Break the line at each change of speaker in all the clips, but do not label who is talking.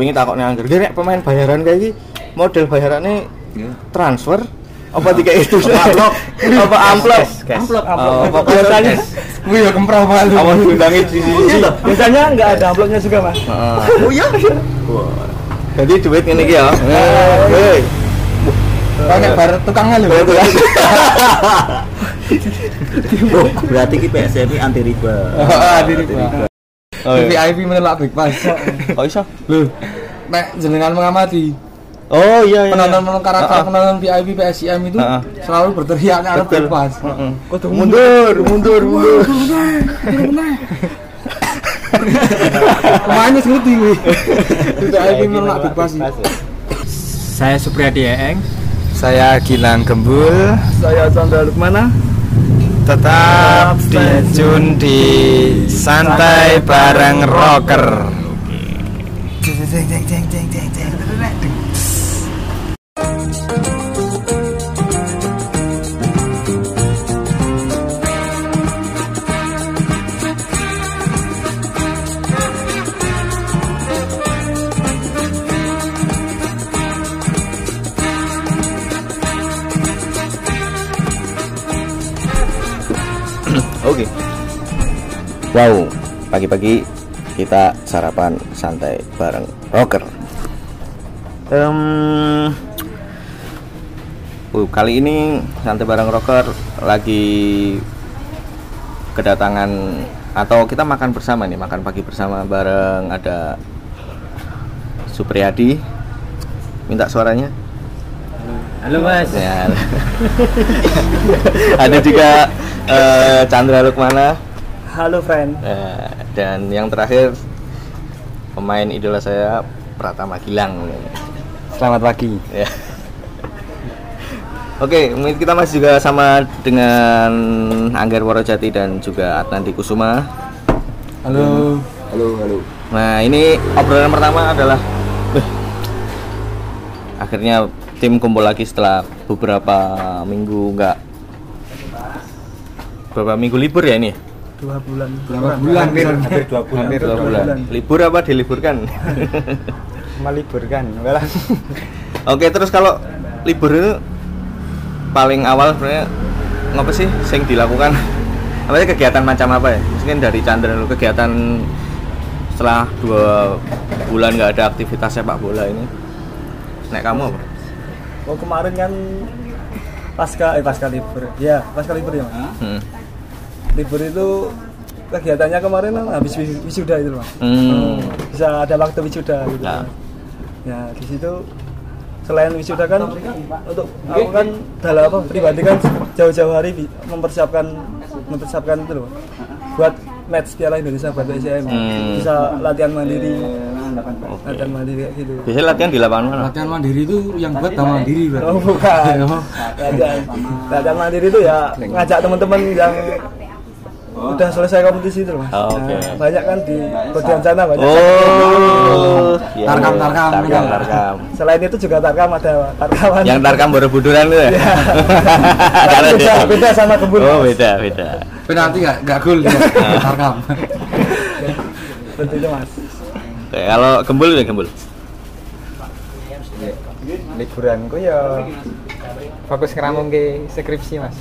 Wingi takokne anggur, "Ki nek pemain bayaran kayak iki model bayarannya transfer Iya." apa tiga itu amplop apa amplop
Amplop,
Oh,
amplop.
pokoknya
Biasanya
Gue ya kemprah malu.
awas diundangi di sini
biasanya nggak ada amplopnya juga, Mas.
Heeh.
Oh iya.
jadi duit ngene iki ya Hei. ya.
Banyak bar tukang lu.
Oh, berarti ki PSMI anti riba.
Heeh, anti riba.
oh iya.
VIP menolak Big Pass.
Oh, iso
Lu. Nek jenengan mengamati
oh iya iya
penonton-penonton karakter
Heeh.
penonton VIP PSIM itu
Heeh.
selalu berteriak arep
Betul.
Big Pass.
Heeh. mundur mundur mundur
Kemana sih gue? VIP menolak Big Pass.
Saya Supriyadi Eeng.
Saya Gilang Gembul
Saya Chandra Lukmana.
tetap dijun di santai bareng rocker.
Oke. Wow, pagi-pagi kita sarapan santai bareng rocker. Em, uh, kali ini santai bareng rocker lagi kedatangan atau kita makan bersama nih, makan pagi bersama bareng ada Supriyadi. Minta suaranya.
Halo, Mas.
Ya. ada juga eh, Chandra Lukmana.
Halo, friend.
Eh, dan yang terakhir pemain idola saya Pratama Gilang.
Selamat pagi.
Ya. Oke, mungkin kita masih juga sama dengan Anggar Warojati dan juga Atnanti Kusuma.
Halo.
Nah, ini obrolan pertama adalah Wih. akhirnya tim kumpul lagi setelah beberapa minggu nggak beberapa minggu libur ya ini
Dua bulan.
Berapa bulan?
Hampir dua bulan.
Hampir dua bulan. Libur apa diliburkan?
Meliburkan. Walah.
Oke, terus kalau libur itu paling awal sebenarnya ngapa sih sing dilakukan? Apa sih kegiatan macam apa ya? Mungkin dari Chandra dulu kegiatan setelah dua bulan nggak ada aktivitas sepak bola ini. Nek kamu apa?
Oh, kemarin kan pasca eh pasca libur. Ya, pasca libur ya, Mas.
Hmm.
Libur itu kegiatannya kemarin kan habis wis- wisuda itu, Mas.
Hmm.
Bisa ada waktu wisuda gitu.
Nah.
Ya, di situ selain wisuda kan untuk aku kan dalam apa pribadi kan jauh-jauh hari bi- mempersiapkan mempersiapkan itu loh buat match Piala Indonesia buat PSM
Hmm.
bisa latihan mandiri
Oke.
latihan mandiri kayak gitu
Biasanya latihan di lapangan mana?
Latihan mandiri itu yang buat taman mandiri berarti.
oh bukan latihan latihan mandiri itu ya ngajak teman-teman yang udah selesai kompetisi itu loh mas
Oh, oke.
Nah, banyak kan di Kodiancana banyak
Oh, iya.
Tarkam, tarkam.
tarkam, tarkam.
selain itu juga Tarkam ada Tarkawan
Yang tarkam Borobuduran itu ya? Karena
Tapi Iya. beda,
dia-
beda sama kebun
Oh,
Mas.
beda, beda.
Penalti enggak enggak gol ya. Tarkam.
seperti itu mas
Oke, kalau gembul ya gembul.
Liburanku ya fokus ngeramung ke skripsi, Mas.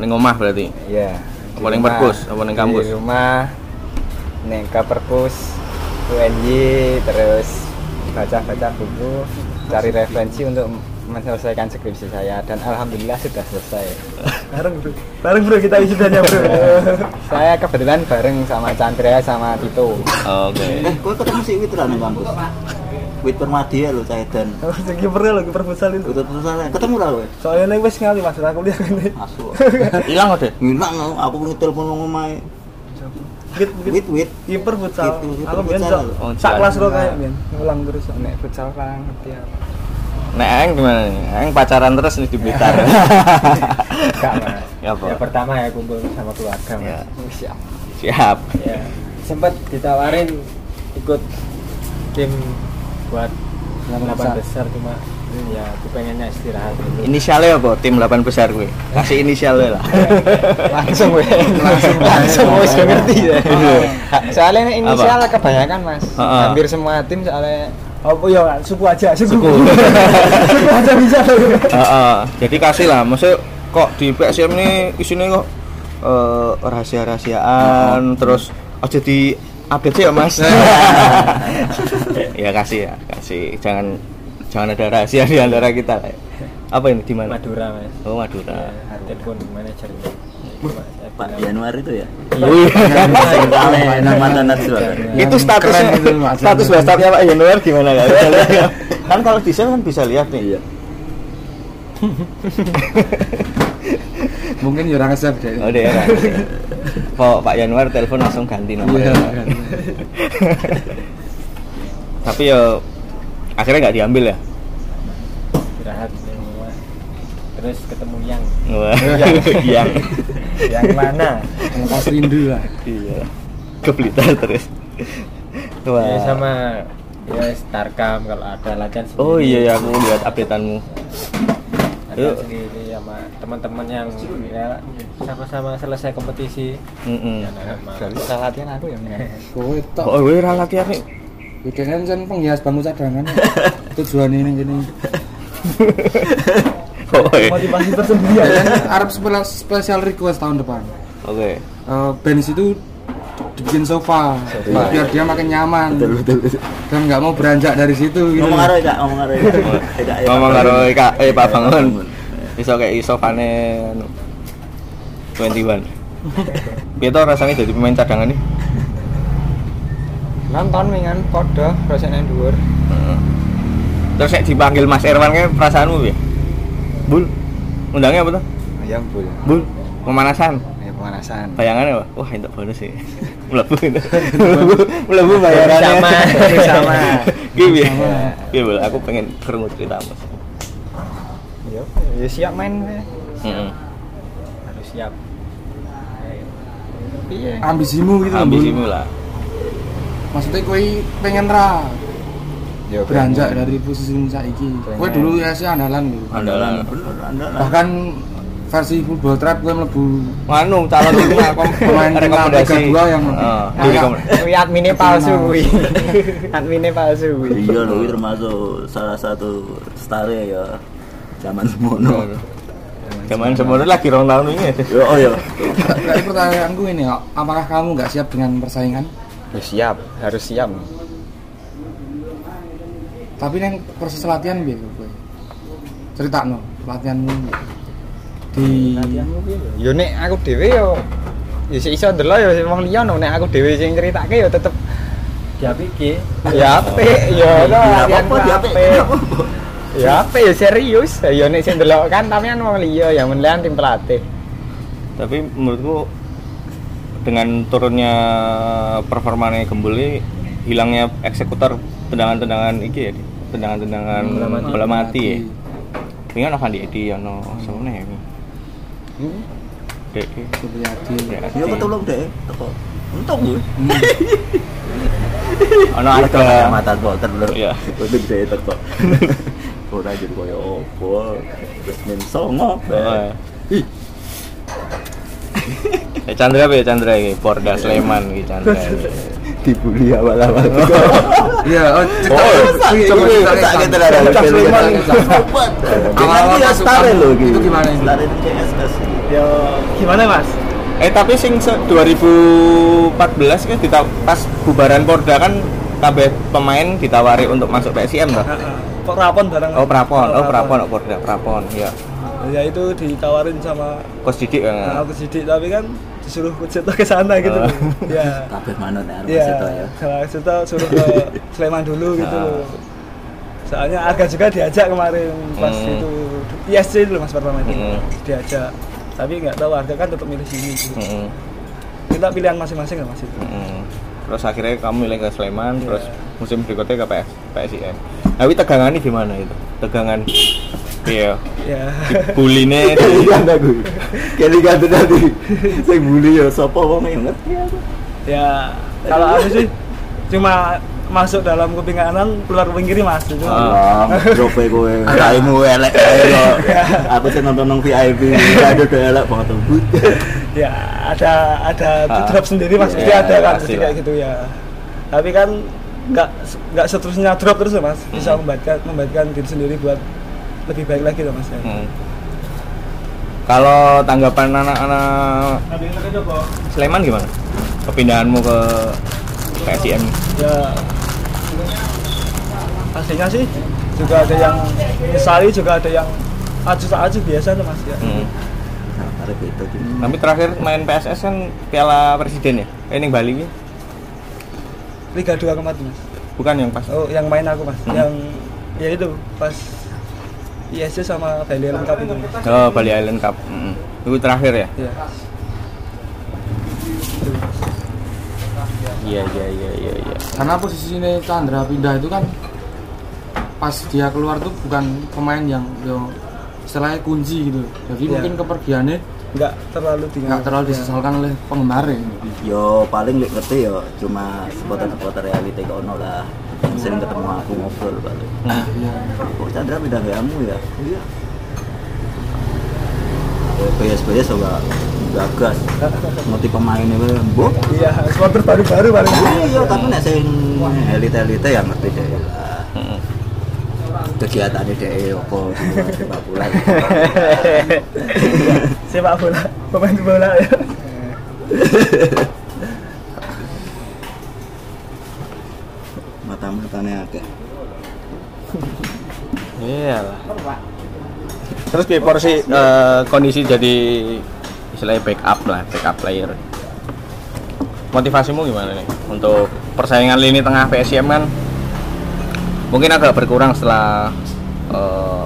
Ning omah berarti.
Iya. di
Apa ning
rumah.
perpus? Apa ning kampus?
Di rumah ning perpus UNY terus baca-baca buku, cari referensi untuk menyelesaikan skripsi saya dan alhamdulillah sudah selesai.
bareng bro bareng bro kita wisudanya bro
Saya kebetulan bareng sama Chandra sama Tito.
Oke.
Eh, kowe ketemu si Wit ra ning kampus. Wit Permadi ya lho cah edan.
Sing kiper lho kiper futsal itu
Udah terus aja. Ketemu ra kowe?
soalnya ini wis ngali mas aku lihat ini
Asu.
Hilang udah.
Minang aku, aku ngetelepon nang omahe.
Wit, wit.
Wit wit.
kiper futsal
Gitu, kiper
aku biyen sok
futsal
lho.
sak kelas lo kayak biyen ngulang terus
Nek futsal kan ngerti apa?
Nek Aeng gimana nih? Aeng pacaran terus nih di Blitar.
Enggak, Mas.
Ya, apa?
Ya, pertama ya kumpul sama keluarga, Mas.
Ya.
Siap.
Siap.
Ya. Sempat ditawarin ikut tim buat delapan besar cuma ya aku pengennya istirahat dulu
Inisialnya apa? Tim 8 besar gue. Kasih inisialnya lah.
langsung weh langsung langsung wes gak ngerti
Iya.
ya soalnya ini inisial kebanyakan mas
Heeh.
hampir semua tim soalnya
apa ya suku aja suku
Suku.
suku aja bisa
Heeh. Jadi kasih lah. Maksudnya kok di PSM ini isinya kok eh, rahasia-rahasiaan terus aja di update sih ya mas ya kasih ya kasih jangan jangan ada rahasia di antara kita lah ya. apa ini di mana
Madura mas
oh Madura
telepon manajernya Saya
Pak
bilang,
Januar itu ya
Iya.
sing kale nang mantan Najwa kan?
itu statusnya
keren itu, Mas.
status WhatsAppnya Pak Januar gimana kan? kan kalau di sel kan bisa lihat nih.
iya
mungkin ya orang ngesep deh
Oh deh. kan? Kok Pak Januar telepon langsung ganti
iya
nomornya.
kan.
Tapi ya akhirnya nggak diambil ya.
istirahat semua terus ketemu yang
Wah, Iya.
yang mana
melepas rindu lah
Iya. Ke Blitar terus. Wah.
ya sama ya Starcam kalau ada latihan sendiri
Oh iya ya aku lihat updateanmu.
latihan
Yuk.
sendiri sama teman-teman yang ya sama-sama selesai kompetisi
Heeh.
ya, nah, sama.
dari salah latihan aku ya Nek. kowe tok
Oh, wih ra latihan nih.
weekend kan penghias bangku cadangan tujuan ini gini
Oh, iya.
motivasi tersendiri ya
dan Arab spesial, spesial request tahun depan
Oke.
Eh bench itu dibikin sofa biar dia makin nyaman dan nggak mau beranjak dari situ gitu
ngomong karo Kak ngomong karo Kak
Ngomong karo Kak eh ya, Pak Bangun. Iso kayak anu, iso fane 21. Piye to rasanya jadi pemain cadangan nih?
nonton dengan podo rasanya dhuwur
Terus saya dipanggil Mas Erwan kayak perasaanmu ya? Bul. Undangnya apa tuh?
ayam bul
Ya, Bul. Pemanasan.
ya pemanasan
Bayangannya apa? Wah, entuk bonus sih. Mlebu itu. Mlebu mlebu bayarannya.
Sama, sama.
Ki piye? Ki, Bul, aku pengen krungu ceritamu.
ya ya siap main weh.
Heeh.
harus siap iya
ambisimu gitu loh, Bun.
Ambisimu lah.
maksudnya kowe pengen ra
ya
beranjak dari posisi saiki kowe dulu ya sih andalan lho
Andalan.
bener anda
bahkan versi football trap gue melebu
Manu Anu, calon timnas
Pemain timnas
rekomendasi.
Liga 2 yang-
Heeh,
Kayak-
direkomendasi.
Kuwi adminnya palsu kuwi. adminnya palsu kuwi.
iya loh itu termasuk salah satu star ya zaman semono
Zaman semono lagi rong tahun ini.
yo oh ya
tapi pertanyaanku ini kok, apakah kamu nggak siap dengan persaingan
Harus siap, harus siap.
tapi neng proses latihan biar gue cerita no latihanmu di
Yo nek aku dhewe yo yo sik iso ndelok yo wong liya no. nek aku dhewe sing ceritake yo tetep diapiki. Ya apik yo
Iya,
no, latihan
apa-apa,
ku
diapik.
apik. Ya apik yo serius. Yo nek sing ndelok kan tapi kan wong liya ya menlian tim pelatih.
Tapi menurutku dengan turunnya performanya Gembuli hilangnya eksekutor tendangan-tendangan iki ya, Di? tendangan-tendangan bola mati ya. Ini kan Avandi Edi ono sono ya. ini.
Hmm.
Dek.
Supriyadi
Dek,
yo
Adi.
ketulung deh teko untung gue
Ono
Iya, teko
ada
mata boter lho
Iya.
untung deh teko ora jadi koyo opo wis men songo
Heeh. Eh, Chandra apa ya Chandra ini? Porda Sleman gitu Chandra. ini.
dibully awal-awal
iya oh cerita
Oh,
Iya,
coba
iya, cerita
kita kita
Kang.
ada
Cerita
film
Sulaiman.
awal
Awal-awal
dia
masuk
star
kan,
loh
itu
gitu
gimana itu?
star itu CSS
ya gimana mas
Eh tapi sing se- 2014 kan dita- pas bubaran Porda kan kabeh pemain ditawari untuk masuk PSM toh.
kok rapon bareng
Oh Prapon, oh Prapon, oh Porda Prapon, ya.
ya itu ditawarin sama
Coach Didik ya.
aku sidik tapi kan disuruh kucita ke sana gitu
Oh.
loh. ya
kabeh manut nek arep
Iya,
seto ya
kalau Seto suruh ke Sleman dulu gitu
Ah.
loh. Soalnya Arga juga diajak kemarin pas
Hmm.
itu ISC dulu Mas Pertama itu
Hmm.
diajak. Tapi nggak tahu Arga kan tetap milih sini. Gitu.
Heeh.
Kita pilihan masing-masing lah Mas itu.
heeh. Terus akhirnya kamu milih ke Sleman, terus musim berikutnya ke PS, PSIN. Nah, Tapi tegangannya gimana itu? Tegangan Iya,
Ya.
buline
Kelingan aku. Kelingan tuh tadi. Saya bully ya, sopo wong yang ngerti aku.
ya kalau aku sih cuma masuk dalam kuping kanan keluar kuping kiri masuk
Ah.
Wah, trope kowe. Raimu elek ae kok. Aku sih nonton nang VIP, aduh udah elek banget. Nah, Bu.
ya ada ada
Ah.
drop sendiri
Iya,
mas pasti ada
iya,
kan
pasti
pasti
lah.
kayak gitu ya tapi kan nggak nggak seterusnya drop terus loh
Hmm.
mas bisa membaikkan membaikkan diri sendiri buat lebih baik lagi loh mas ya.
Hmm. Kalau tanggapan anak-anak Sleman gimana? Kepindahanmu ke PSIM.
ya pastinya sih juga ada yang misali juga ada yang acuh-acuh biasa tuh mas ya
Hmm.
Nah, arek itu tuh.
Tapi terakhir main PSS kan Piala Presiden ya? Eh, Ini Bali ini
Liga 2 kemarin mas
bukan yang pas.
oh yang main aku mas
Hmm.
yang ya itu pas ISC sama Bali lengkap itu mas
Oh, Bali Island Cup. Hmm. Itu terakhir ya?
ya
Iya, iya, iya, iya, iya.
karena posisi ini Chandra pindah itu kan pas dia keluar tuh bukan pemain yang yo istilahnya kunci gitu jadi
Iya.
mungkin kepergiannya
nggak terlalu tinggal
nggak terlalu disesalkan oleh penggemar ya.
Yo paling lek ngerti yo cuma supporter-supporter reality kok ono lah. Sering ketemu aku ngobrol paling.
ya.
Kok Oh, Chandra pindah gayamu ya? Iya. PS-PS juga gagas. Motif pemainnya wae mbok.
iya supporter baru-baru paling
Iya, tapi nek sing elite-elite ya ngerti deh lah. Kegiatannya deh apa sepak bola.
sepak bola pemain bola ya
Mata-matane akeh.
Iyalah. Terus di porsi eh, kondisi jadi istilahnya backup lah, backup player. Motivasimu gimana nih untuk persaingan lini tengah PSM kan? Mungkin agak berkurang setelah eh,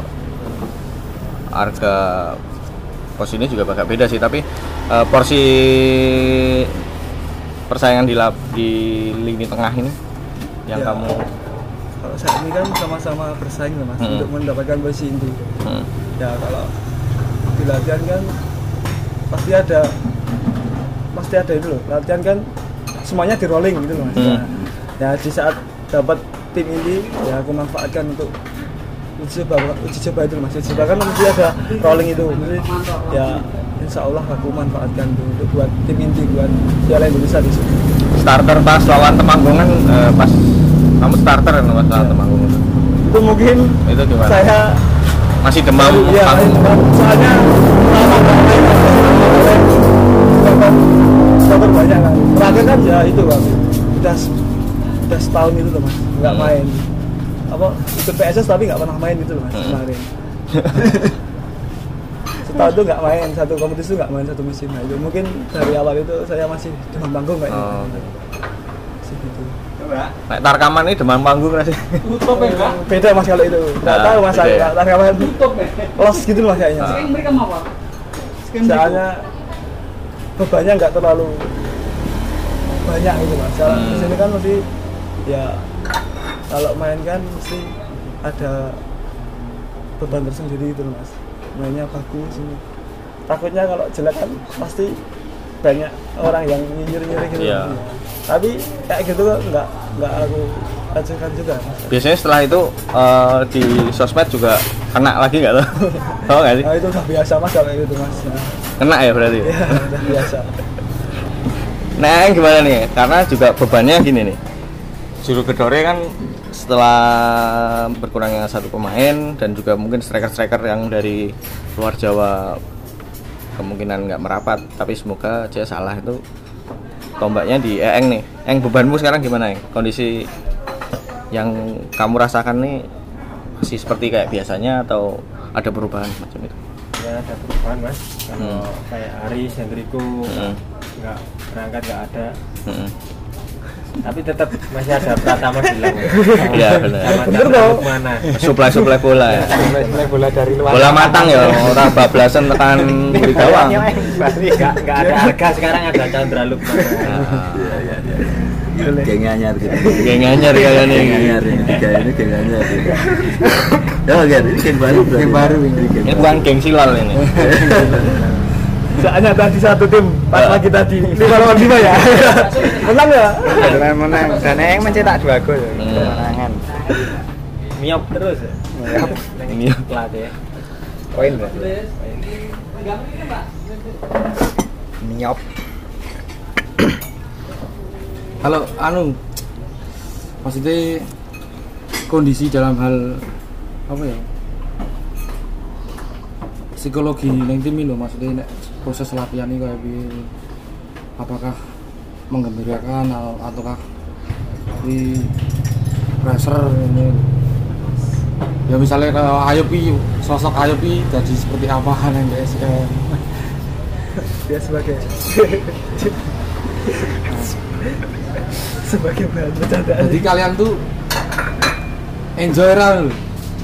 harga posisinya juga agak beda sih, tapi eh, porsi persaingan di lap, di lini tengah ini yang
Ya.
kamu
kalau saat ini kan sama-sama bersaing loh mas
Hmm.
untuk mendapatkan posisi itu
hmm,
ya kalau di latihan kan pasti ada pasti ada itu loh latihan kan semuanya di rolling gitu loh mas
Hmm.
ya di saat dapat tim ini ya aku manfaatkan untuk uji coba uji coba itu loh mas uji coba kan mesti ada rolling itu Jadi, ya insya Allah aku manfaatkan itu untuk buat tim inti buat Piala Indonesia di sini
starter pas lawan Temanggungan eh, pas kamu starter kan pas lawan Temanggungan
itu mungkin
itu gimana?
saya
Masih demam
Iya,
panggung.
soalnya lama banget, lama banget. Dokter banyak kan. Terakhir kan ya itu bang, udah udah setahun itu loh mas, nggak
Hmm.
main. Apa ikut PSS tapi nggak pernah main gitu loh mas
Hmm.
kemarin. setahun tuh nggak main satu kompetisi tuh nggak main satu musim Nah, itu mungkin dari awal itu saya masih demam panggung kayaknya
Oh.
Masih gitu.
Nek tarkaman ini demam panggung rasanya.
beda mas kalau itu nggak
Nah,
tahu mas
beda
saya
ya.
nggak tahu los gitu loh mas kayaknya
Ah.
soalnya bebannya nggak terlalu banyak gitu mas kalau
Hmm.
di sini kan mesti ya kalau main kan mesti ada beban tersendiri gitu loh mas mainnya bagus ini takutnya kalau jelek kan pasti banyak orang yang nyinyir nyinyir gitu
Iya.
tapi kayak gitu kok nggak nggak aku acuhkan juga mas.
Biasanya setelah itu eh, di sosmed juga kena lagi nggak lo? Tahu nggak sih?
Nah, itu udah biasa mas kalau kayak gitu mas ya,
Kena ya berarti.
Ya, udah biasa
Nah gimana nih? Karena juga bebannya gini nih. Juru gedore kan setelah berkurangnya satu pemain dan juga mungkin striker-striker yang dari luar Jawa kemungkinan nggak merapat tapi semoga aja salah itu tombaknya di Eng nih Eng bebanmu sekarang gimana Eng? kondisi yang kamu rasakan nih masih seperti kayak biasanya atau ada perubahan macam itu
ya ada perubahan mas kalau
Hmm.
kayak Aris, Hendriko
Hmm.
nggak berangkat nggak ada
Mm-mm.
tapi tetap masih ada Pratama bilang
Iya, benar.
Bener dong.
mana
suplai-suplai bola ya
mulai bola Iya, dari luar
bola matang ya orang bablasan tekan beli gawang
pasti nggak nggak ada harga sekarang ada Chandra Lukman
Iya, iya, iya. Geng anyar gitu.
geng anyar kalian
Iya,
Geng
ini
anyar ini, geng ini geng anyar ini. Ya, geng ini geng baru. berarti.
Geng baru ini.
geng
Iya.
ini bukan geng silal ini
Soalnya tadi satu tim pas lagi tadi lima lawan lima ya. Menang ya.
Menang menang. Dan yang mencetak dua gol. Kemenangan.
miop terus ya
Miop.
Plat ya
Poin berarti. Nyop.
Kalau anu maksudnya kondisi dalam hal apa ya? Psikologi neng tim lho maksudnya nek proses latihan ini kayak piye? apakah menggembirakan atau- ataukah di pressure ini ya misalnya kalau Ayub ini, sosok Ayub ini jadi seperti apa yang PSM
Dia sebagai sebagai bahan bercandaan.
jadi kalian tuh enjoy lah lho.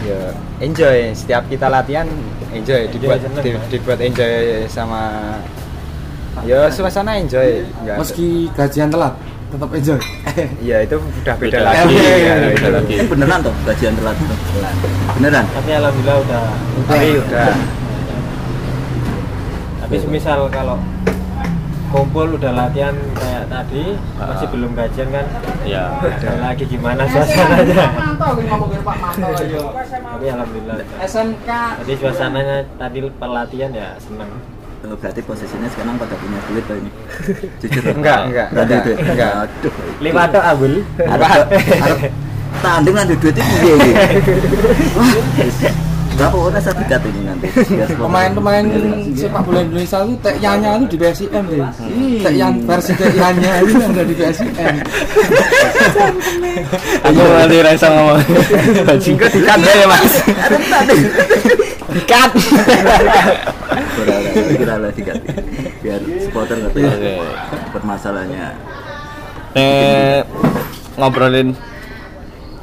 Ya, enjoy. Setiap kita latihan enjoy, dibuat di- dibuat enjoy sama Ya suasana enjoy. Nggak-
meski gajian telat tetap enjoy
Ya itu udah beda,
Beda
lagi,
lagi. ya,
beda
beda lagi.
Eh, beneran tuh gajian telat tuh. Beneran.
tapi alhamdulillah udah
Tapi udah
tapi semisal kalau kumpul udah latihan kayak tadi masih belum gajian kan
ya
Iya.
ada lagi gimana suasananya tapi alhamdulillah
SMK
jadi suasananya tadi pelatihan ya seneng
Eh, Berarti posisinya sekarang pada punya duit tuh ini. Jujur. loh.
enggak enggak
Berarti
enggak.
duit.
enggak.
Aduh.
lewat tuh abul
Harap harap tanding nanti duit itu piye iki? Wah, Enggak ora satu kat ini nanti. Biar semua-
pemain-pemain sepak bola Indonesia itu tek yanya itu di PSIM deh tek yang versi tek yanya itu ada di PSIM
aku nanti rasa ngomong bajingku Iya. dikat ya mas dikat
Ora, ora, ora. Kita lah tiga Biar supporter ngerti
Iya.
Oke.
permasalahannya.
eh ngobrolin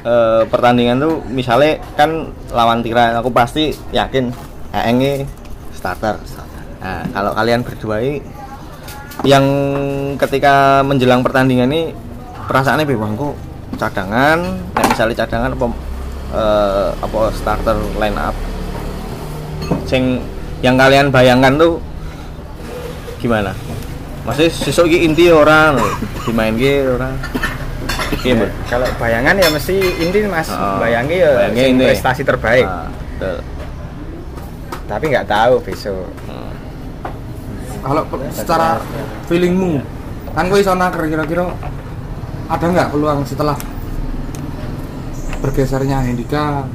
eh, pertandingan tuh misalnya kan lawan Tira aku pasti yakin Eng starter. Nah, kalau kalian berdua ini yang ketika menjelang pertandingan ini perasaannya bebang kok cadangan, nah, misalnya cadangan apa eh, apa starter line up. Sing yang kalian bayangkan tuh gimana? Masih sesuk iki inti orang dimainke orang. Iya, Mbak.
Kalau bayangan ya mesti inti Mas,
Ah.
Heeh.
bayangin ya
Bayangin
sing
inti.
prestasi terbaik.
Ah, betul.
Tapi nggak tahu besok.
Hmm.
kalau pe- secara feelingmu kan gue iso naker kira-kira ada nggak peluang setelah bergesernya Hendika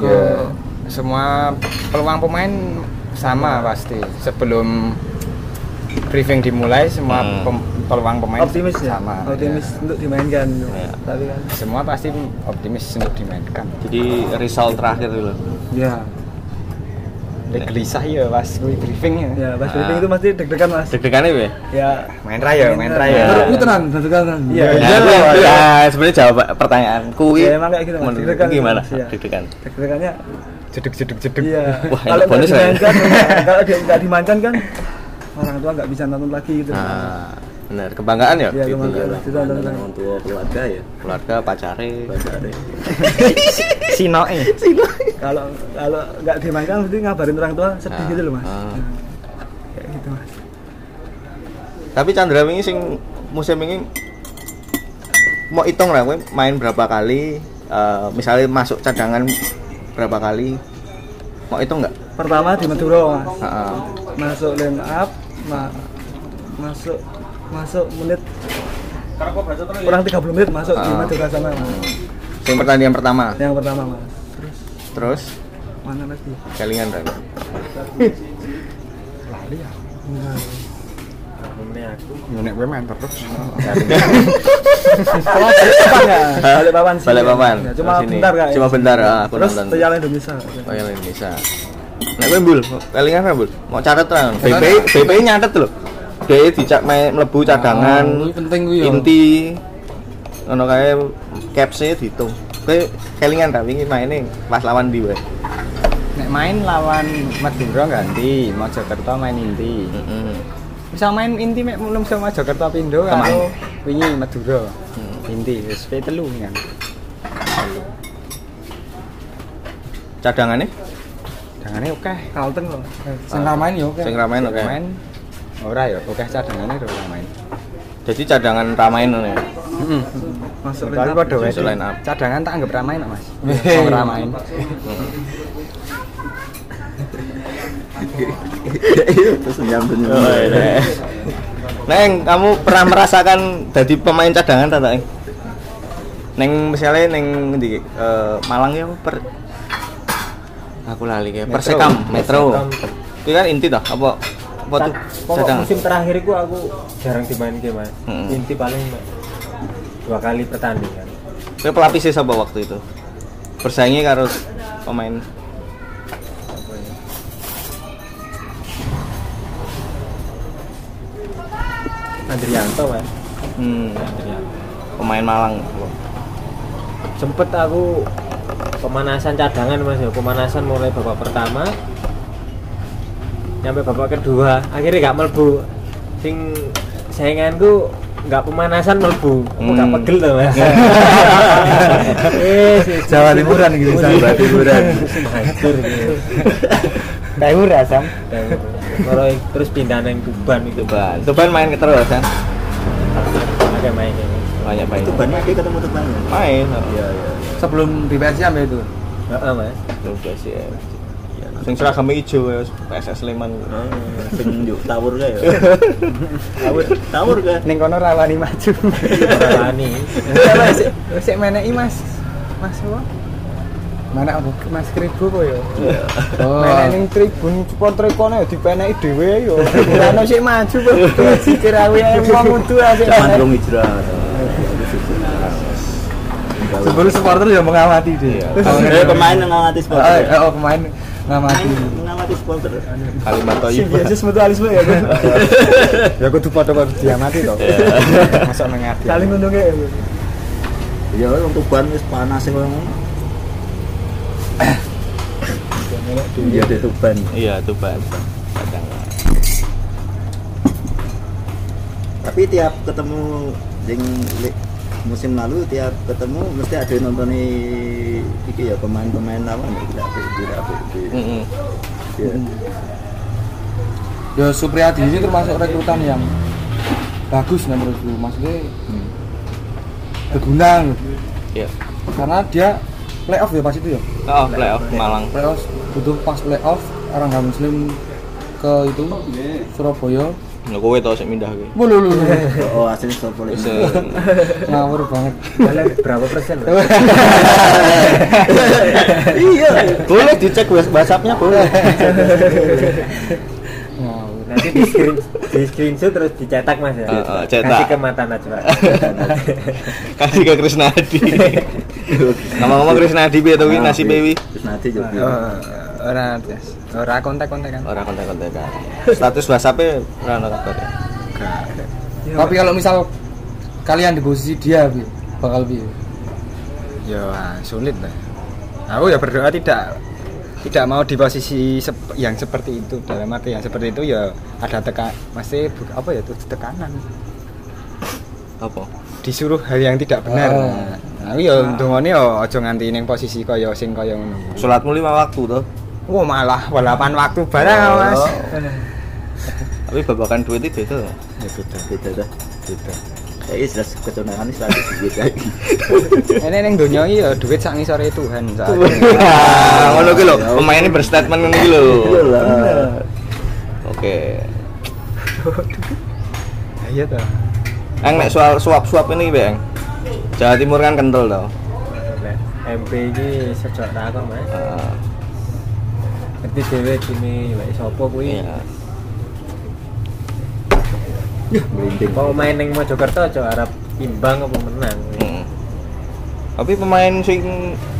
ke
Ya, semua peluang pemain sama pasti sebelum briefing dimulai semua
Hmm.
pem- peluang pemain
Optimis ya.
sama ya.
Optimis untuk dimainkan.
Iya.
Tapi kan
semua pasti optimis untuk dimainkan
Jadi result terakhir dulu.
ya
Udah gelisah ya pas gue briefing ya
ya pas
Ah.
meeting itu pasti deg-degan Mas.
Deg-degannya ya?
Ya
main raya main raya
Ya.
Terus tenan, terus tenan.
Iya.
Ya,
iya,
aku
iya.
ya, sebenarnya jawab pertanyaanku
Ya,
ini
emang kayak gitu, Mas.
menurutku
Deg-degan itu,
gimana?
Mas, ya.
Deg-degan.
deg-degannya
jeduk jeduk jeduk
iya.
Wah,
Kalau
enak bonus lah
nggak
ya.
dimainkan, kalau dia nggak dimainkan kan orang tua nggak bisa nonton lagi gitu.
Nah, benar kebanggaan ya.
Iya,
gitu ya.
kebanggaan. Iya, kita ada-
Pandangan orang tua keluarga ya.
Keluarga, pacare.
Bahasa ada.
sinoe
Kalau kalau nggak dimainkan mesti ngabarin orang tua sedih
Ah,
gitu loh Mas.
ah.
Nah, Kayak gitu Mas.
Tapi Chandra ini sing musim ini mau hitung lah, kowe main berapa kali? eh, misalnya masuk cadangan berapa kali? Mau hitung nggak?
Pertama di Madura Mas.
Ah, ah.
Masuk line up, ma- masuk masuk menit kurang 30 menit masuk di
Ah.
Madura sana Mas.
Sing pertandingan pertama.
Yang pertama Mas. Terus
Terus
mana lagi?
kelingan Ren.
nek gue main terus
balik papan sih.
Balikpapan.
Ya, cuma
Oh, sini.
bentar kak.
Cuma bentar, ah, aku
Terus
nonton.
Piala Indonesia.
Oh yang Indonesia. Nek kowe Bul, kelingan ra Bul? Mau catet ra? BP BP nyatet lho. Dia dicak main mlebu cadangan.
Oh, kuwi penting kuwi ya.
Inti ngono kae capsnya dihitung. Kowe kelingan ra wingi maine pas lawan di wae.
nek main lawan Madura ganti Mojokerto main inti
Heeh.
bisa main inti mek mulum sama Mojokerto Pindo
Teman.
kalau wingi Madura inti wis pe telu kan
Cadangane?
cadangannya oke
kalteng loh
Sing ramain ya oke.
Sing ramain oke.
main ora ya oke cadangannya ora main
Jadi cadangan ramain ngono ya.
heeh
masuk
tapi
lineup.
padha wae
Masuk line up.
cadangan tak anggap ramai nak mas
Weh.
Wong ramai
terus gitu, senyum senyum
Oh,
Oh, iya,
iya,
Neng, kamu pernah merasakan jadi pemain cadangan tak Neng? Neng misalnya neng di Malang ya apa? per aku lali ya
Metro.
Persekam Metro.
Persekam.
Itu kan inti dah apa Oh, apa tuh
Pokok
cadangan?
musim terakhir itu aku jarang dimainkan mas.
Hmm.
Inti paling dua kali pertandingan.
Kue pelapisnya siapa waktu itu? Bersaingnya karo pemain
Andrianto mas.
hmm,
Andrianto.
pemain Malang.
sempet aku pemanasan cadangan mas ya pemanasan mulai babak pertama nyampe babak kedua akhirnya gak melbu sing sainganku gak pemanasan melbu aku gak
Hmm.
pegel tuh mas Eh, si-
Jawa Timuran gitu
Jawa Timuran.
Musim hancur gitu.
Daura sam
Dan mulai terus pindah neng Tuban itu
Tuban, Tuban main terus kan?
ada mainnya Mas.
Banyak main.
itu banyak dia ketemu teman
Main. oh.
iya iya
Sebelum di PSI ambil itu.
Heeh, mas
Oke sih. Sing seragam ijo ya PSS Sleman.
Oh,
sing yuk tawur kae ya tawur tawur kan? kae
ning kono rawani maju
Marani
Ya, Mas. Sik meneki Mas. Mas apa?
Mana aku?
Mas Kribo kok ya.
Oh.
Menek ning tribun supporter kono ya dipeneki dhewe ya. Ora ono sik maju kok. Sikir awe wong kudu asik.
zaman rong hijrah
Sebelum supporter ya mengamati dia.
Eh, pemain ngawati
Oh,
supporter
oh, pemain ngamati.
ngawati supporter
Kalimat Toyiba.
simbiosis mutualisme ya kan
Ya kudu padha-padha diamati to. Masuk nang ati.
saling untungnya
ya wong tuban wis panas sing ngono iya di tuban
Iya, Tuban.
tapi tiap ketemu sing li- musim lalu tiap ketemu mesti ada yang nonton iki ya pemain-pemain lawan ya tidak apik tidak apik
Heeh.
ya
Hmm. Ya Supriyadi ini termasuk rekrutan yang bagus nih menurutku. Maksudnya berguna loh.
Iya.
karena dia playoff ya pas itu ya
Oh, playoff Malang.
playoff butuh pas playoff orang nggak muslim ke itu Surabaya
Lho kowe tau sik mindah kowe.
Wuh, lu, lu, lu.
oh asli sopol
Wis eh,
ini
ngawur banget
berapa persen Mas?
iya
boleh dicek WhatsApp-nya boleh.
ngawur
nanti di screen di screenshot terus dicetak mas ya
Heeh, cetak.
kasih ke mata Najwa
Kasih ke Krisna Hadi. Ngomong-ngomong Krisna Hadi piye to kuwi nasibe kuwi?
Nah, terus nanti juga
Ora ora kontak-kontakan.
Ora kontak-kontakan. Status WhatsApp-e ora ono kabar. ya?
tapi kalau misal kalian di posisi dia Bi, bakal bi
Ya sulit lah. Aku ya berdoa tidak tidak mau di posisi sep- yang seperti itu dalam arti yang seperti itu ya ada tekan masih bu- apa ya itu tekanan
Apa?
disuruh hal yang tidak benar.
Ah.
Nah, aku ya ndongone ya aja nganti ning posisi kaya sing kaya ngono.
Salatmu lima waktu to.
Wah malah walapan waktu barang
Oh.
Mas.
Tapi babakan duit itu itu.
Ya beda,
beda dah
beda.
kayaknya jelas kecenderungan ini selalu gitu. duit lagi
Ini ning donya iki ya duit sak ngisore Tuhan sak.
Ngono kuwi lho, pemainnya berstatement ngono kuwi lho.
iya lah
Oke.
Ya, Iya ta.
Ang nek soal suap-suap ini, Bang. Jawa Timur kan kental tau.
Nah, MP ini sejak takon mas
Eh,
ngerti dewe gini wae sapa kuwi
iya.
merinding
mau main ning Mojokerto aja harap imbang apa menang kuwi.
Mm. Tapi pemain sing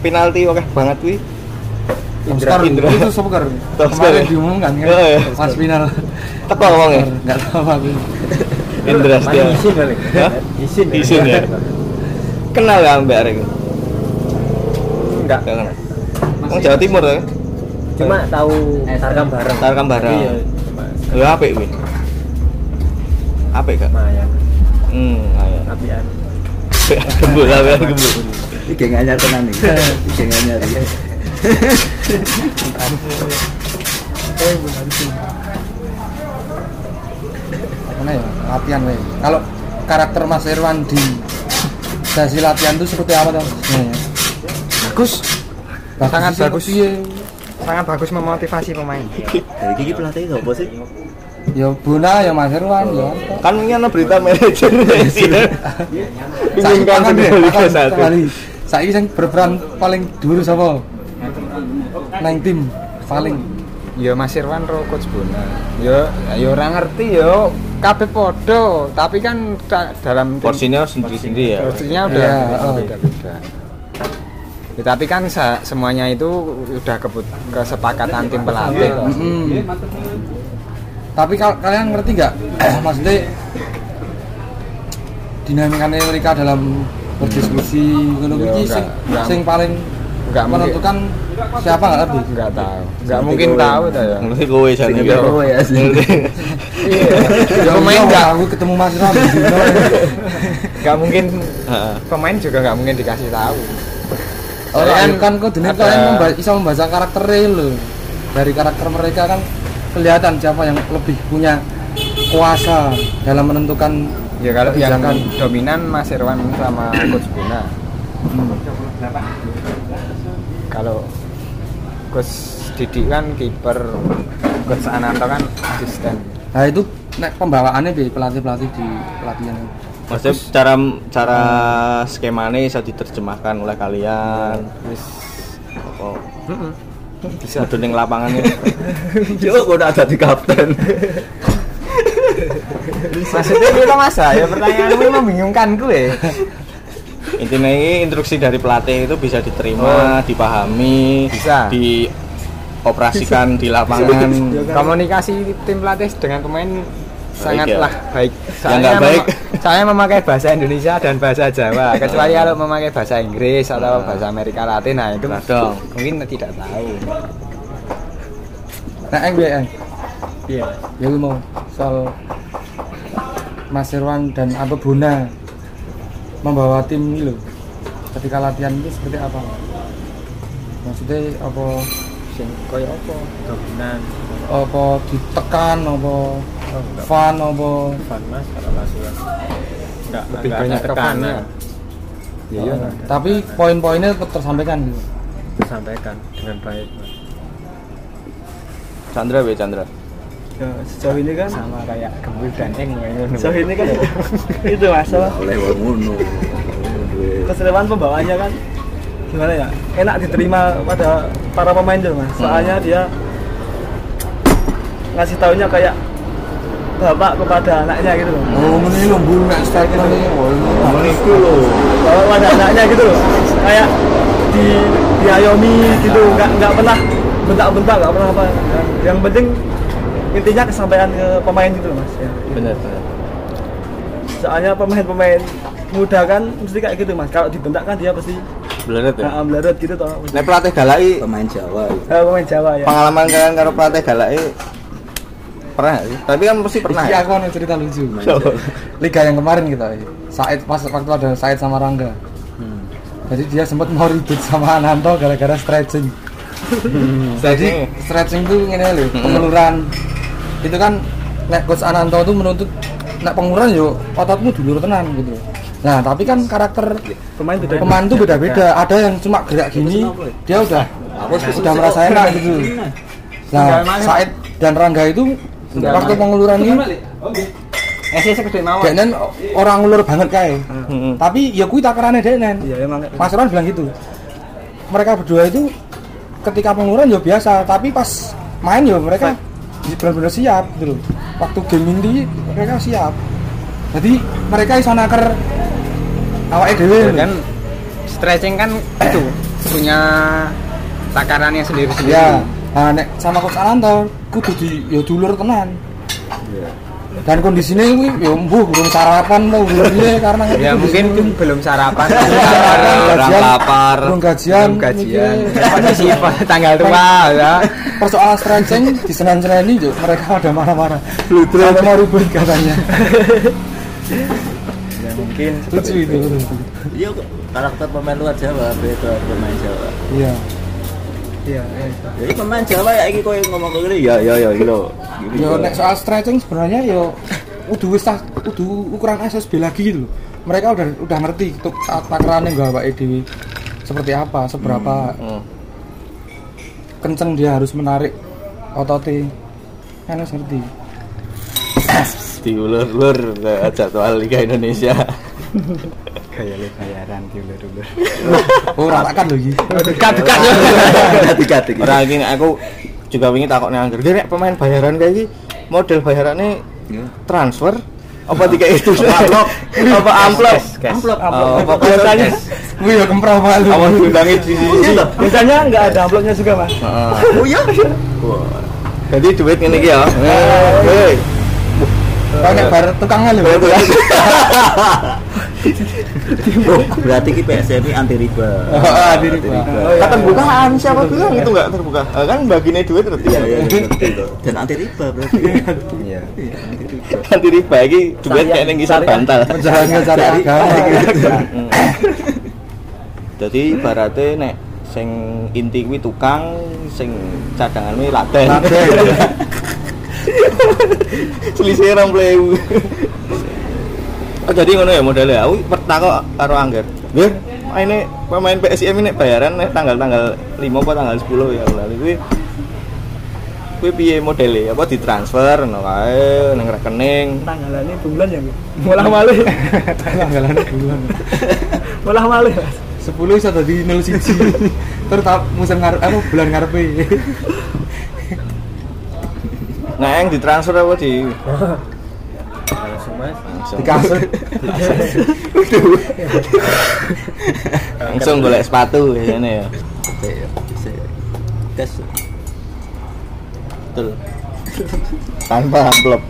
penalti oke banget kuwi.
Oscar
Indra.
itu Oscar
Oscar, ya?
kemarin diumumkan kan
Oh, iya.
pas final
Teko wonge.
nggak tahu aku
e, Indra
Paling
Setia.
isin kali
Hah?
isin
Isin ya. Kenal ya Mbak Arek?
enggak
Enggak kenal. Wong Jawa Timur ya.
cuma tahu tarkam bareng
Tarkam bareng.
Iya, cuma
Lha apik kuwi. Apik gak?
lumayan
Hmm, ayo.
apian
Gembul, apian gembul.
ini geng anyar tenan nih ini geng anyar
eh bulan sih
Mana ya latihan weh. Kalau karakter Mas Irwan di sesi latihan itu seperti apa dong?
Iya,
Bagus,
Bagus
Sangat
sih,
bagus.
iya.
sangat bagus memotivasi pemain.
dari gigi pelatih apa sih
Ya Buna ya Mas Irwan ya.
kan ini ada berita manajer
Iya,
Iya.
Saiki
Inginkan
tangan
di
deh,
Liga kan
tangan
satu.
sekali. Saiki sing berperan paling dhuwur sapa? Nang tim paling
Ya Mas Irwan ro coach Bona. Ya ya ora ngerti ya kabeh podo, tapi kan ta- dalam tim-
porsinya sendiri-sendiri ya
porsinya udah
Iya, oh.
beda-beda. Ya, tapi kan sa- semuanya itu udah kebut- kesepakatan tim pelatih. kok.
Mm. Tapi kal- kalian ngerti nggak maksudnya dinamikanya mereka dalam berdiskusi ngono
Ya,
kuwi
nggak-
sing
nggak-
sing paling
nggak mungkin. Ya,
menentukan siapa nggak lebih.
Enggak tahu. Enggak mungkin tahu ta ya.
ngerti kowe jane
Iya, kowe ya, Iya. Ya pemain enggak
aku ketemu Mas Ram.
enggak mungkin
Heeh.
pemain juga enggak mungkin dikasih tahu.
Orang
Kalian
kan kok dene
ada-
kalian memba- bisa membaca karakternya lho. Dari karakter mereka kan kelihatan siapa yang lebih punya kuasa dalam menentukan
Ya kalau yang
kebijakan.
dominan Mas Irwan sama Coach Buna. Kalau Coach Didi kan kiper, Coach Ananto kan asisten.
Nah itu nek pembawaannya di pelatih-pelatih di pelatihan itu.
maksudnya cara cara skemanya bisa diterjemahkan oleh kalian
Wis
apa
bisa.
bisa ning lapangannya
coba gue Iya, udah jadi kapten
Maksudnya kita Mas ya pertanyaanmu membingungkan gue.
intinya ini instruksi dari pelatih itu bisa diterima dipahami
Bisa.
dioperasikan di lapangan
Komunikasi tim pelatih dengan pemain sangatlah baik.
Yang nggak baik.
saya memakai bahasa Indonesia dan bahasa Jawa. Kecuali kalau memakai bahasa Inggris atau bahasa Amerika Latin, nah itu
Kadang.
mungkin tidak tahu.
Nah, eng piye, eng?
Iya.
Ya lu mau soal Mas Irwan dan Abe Buna membawa tim ini lho. Ketika latihan itu seperti apa? Maksudnya apa
Sing koyo apa?
dominan
apa ditekan apa fun apa
depan mas kalau langsung nggak nggak
Lebih
ada
banyak ke
tekanan
fan-nya. Ya iya.
tapi poin-poinnya tetap tersampaikan gitu.
disampaikan dengan baik mas
Chandra be Chandra
ya sejauh ini kan
sama kayak gembul dan eng
sejauh ini kan itu masalah
oleh wamuno
keseruan pembawaannya kan gimana ya enak diterima pada para pemain tuh mas soalnya dia ngasih taunya kayak bapak kepada anaknya gitu loh
Oh, ini lho Bu, nek statement ini. Oh, ini.
itu loh
bapak kepada anaknya gitu loh kayak di diayomi gitu nggak nggak pernah bentak-bentak nggak pernah apa yang penting intinya kesampaian ke pemain gitu loh mas ya.
benar benar
soalnya pemain-pemain muda kan mesti kayak gitu mas kalau dibentak kan dia pasti
Iya.
benar ya
nah, melarut gitu toh
Nek pelatih galai
pemain Jawa itu.
Eh, pemain Jawa ya
pengalaman kalian karo pelatih galai pernah nggak sih? Tapi kan pasti pernah.
Iki
ya?
aku ada cerita lucu.
Pemain
Iya.
Jawa.
Liga yang kemarin kita eh. Said pas waktu ada Said sama Rangga. Jadi dia sempat mau ribut sama Ananto gara-gara stretching. Jadi
Jadi
stretching tuh ngene lho, pengeluaran. Itu kan nek coach Ananto tuh menuntut nek pengeluaran yo ototmu dulur tenan gitu. Nah, tapi kan karakter
pemain beda
pemain tuh beda-beda. Ada yang cuma gerak gini, dia udah udah merasa enak gitu. Nah, Said dan Rangga itu waktu pengeluaran ini
Eh sih segede mau.
Deknen orang ngulur banget kae. Tapi ya kuwi takarannya Deknen.
iya emang kayak
Mas Ron bilang gitu. Mereka berdua itu ketika pengurusan ya biasa, tapi pas main ya mereka benar-benar siap gitu loh. Waktu game inti mereka siap. Jadi mereka iso naker awake dhewe lho.
Dan kan stretching kan itu punya takarannya sendiri-sendiri.
Ya, nah, nek sama coach Alanto kudu di ya dulur tenan. Dan kondisinya ini ya mbuh belum sarapan mau dulurnya karena
Ya mungkin belum sarapan.
orang
gajian,
lapar.
Belum gajian.
Belum gajian. Ya,
mikir.
Posisi tanggal tua ya.
Persoalan stretching di Senin-Senin ini juga mereka ada marah-marah. Sampai mau ribut katanya.
Ya mungkin
Lucu itu. lucu.
iya kok karakter pemain luar Jawa beda pemain Jawa
Iya.
Iya.
Jadi pemain Jawa ya iki koyo ngomong koyo ngene ya ya ya iki lho. Iki
Yo
lho.
nek soal stretching sebenarnya yo udah wis tah- udah ukuran SSB lagi gitu loh. Mereka udah udah ngerti tuh saat takarannya nggak Pak Edi seperti apa, seberapa kenceng dia harus menarik ototnya. Kan harus ngerti.
diulur-ulur ke jadwal Liga Indonesia.
Gaya lu bayaran diulur-ulur.
Oh, ratakan loh gitu.
Dekat-dekat.
Dikati-kati.
Ora iki nek aku juga wingi takok nang Angger. Nek pemain bayaran kayak iki model bayarannya transfer Iya. Nah. apa tiga itu? Amplop. Apa amplop?
Amplop.
Oh, apa
Biasanya
Gue ya kemprah malu.
Apa diundangi di sini?
biasanya nggak ada amplopnya juga mas.
Oh iya. Jadi duit ngene iki ya. eh. Hei.
Banyak bar tukangan loh.
Oh, berarti iki PSMI anti riba.
Ah, anti riba.
Keterbukaan siapa bilang itu enggak terbuka? Ah, Kan baginya duit berarti
Iya iya iya, betul, betul. Dan anti riba berarti.
Iya.
Nanti riba iki duit kayak ning kisar bantal.
Jangan cari agama.
Iya. Jadi ibaratnya nek sing inti kuwi tukang, sing cadangan kuwi laten. iya. Selisih orang plewu. Oh, jadi ngono ya modelnya. Aku pertakok karo Angger. Nggih, ini pemain PSIM ini bayaran nek tanggal-tanggal 5 apa tanggal 10 ya aku lali kuwi. Kuwi piye modele? Apa ditransfer ngono kae ning rekening.
Tanggalannya bulan ya, Bu? Mulah malih.
Tanggalannya bulan.
Mulah malih. Mas.
10 iso dadi 01. Terus tahap musim ngarep e. apa bulan ngarepe.
Nah, yang ditransfer apa di
langsung mas
langsung.
Dikasih.
langsung golek sepatu biasanya ya.
Iya, iya. Tes
Betul. Tanpa amplop.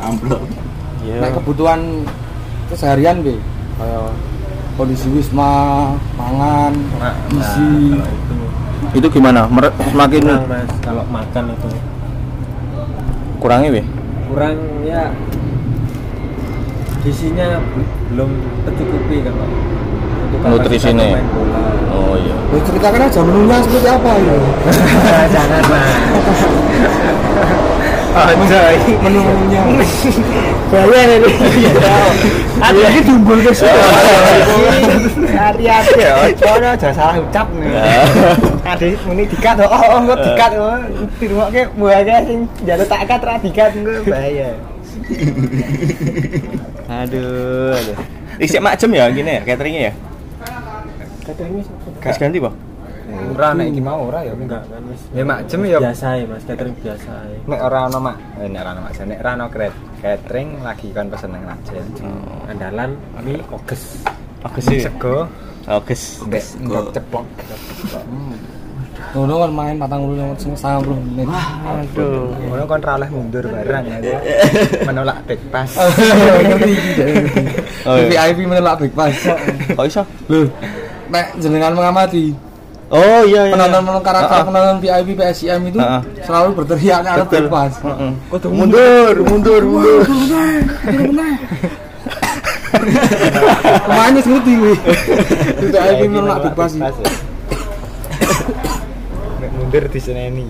amplop.
Iya. Ya.
Nek kebutuhan keseharian be kayak kondisi wisma, pangan, gizi.
Nah,
Ya,
Itu gimana? Mere- semakin
kurang mas kalau makan itu
kurangnya weh.
kurang ya isinya belum tercukupi kalau untuk kapasitas
Nutrisinya. ya?
pemain bola.
Oh iya.
Lo ceritakan aja menunya seperti apa ya.
Ah, jangan mas
Ah,
Menunya.
bayar ini ada lagi dumbul ke
Hati-hati ya. Coba jangan salah ucap nih.
Ya.
Ada muni dikat oh, oh engko dikat oh. Dirungokke buahnya sing jalur tak kat ra dikat engko bahaya.
Aduh, aduh. Isik macem ya gini ya cateringnya ya. Gas ganti, Pak.
Ora nek iki mau ora ya.
enggak kan mas
Ya macem ya.
biasa ya mas catering biasa ya
Nek ora ono mak, eh, nek ora ono mak, nek ora ono kret- catering lagi kon pesen nang Rajen.
andalan mie oges
Oke
iya.
sih.
Sego,
Oke.
mbek mbek ceplok.
Ngono kan main patang puluh lewat sing sangat puluh menit.
Aduh.
Ngono kon ra oleh mundur barang ya. Pak. Menolak back pass.
Ah.
Ngerti iki, Cak, ngerti.
Oh, iya. Oh,
VIP menolak big pass.
Kok iso?
Loh, nek jenengan mengamati
Oh iya iya.
penonton penonton karakter
Ah, ah.
penonton VIP PSIM itu
Ah, ah.
selalu berteriak ada
Betul.
big pass.
Heeh. Mundur, mundur, mundur.
Pemainnya sendiri tinggi. Tidak ada yang menolak big pass.
ya. Nek mundur di seneni.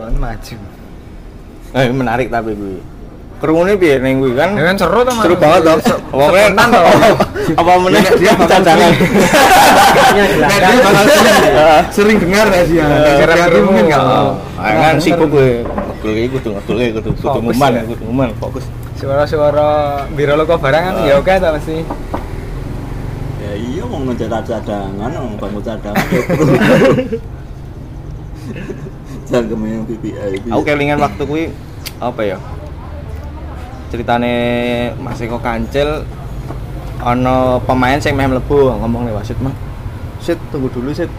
Kon maju.
Eh menarik tapi gue. Kerumunan piye ning kuwi kan?
Ya kan seru to Mas.
Seru banget dong. Wongnya
Spontan toh.
apa meneh Iya, dia cadangan.
Nah, dia bakal sering-
Heeh.
sering dengar ya dia.
kira-kira
Hati-hati
kerumunan.
mungkin nggak.
Oh, kan sibuk gue. Ngedul iki kudu ngedul iki kudu kudu
Fokus
nguman,
ya.
kudu nguman, fokus.
Suara-suara biro loko barang kan
Ah.
ya oke ta mesti.
Ya iya mau ngejar cadangan, mau bangun cadangan. Jangan kemenyan PPI.
Aku kelingan waktu kuwi apa ya? Ceritane Mas Eko Kancil ana pemain sing meh mlebu ngomong nih wasit mah. Sit tunggu dulu sit.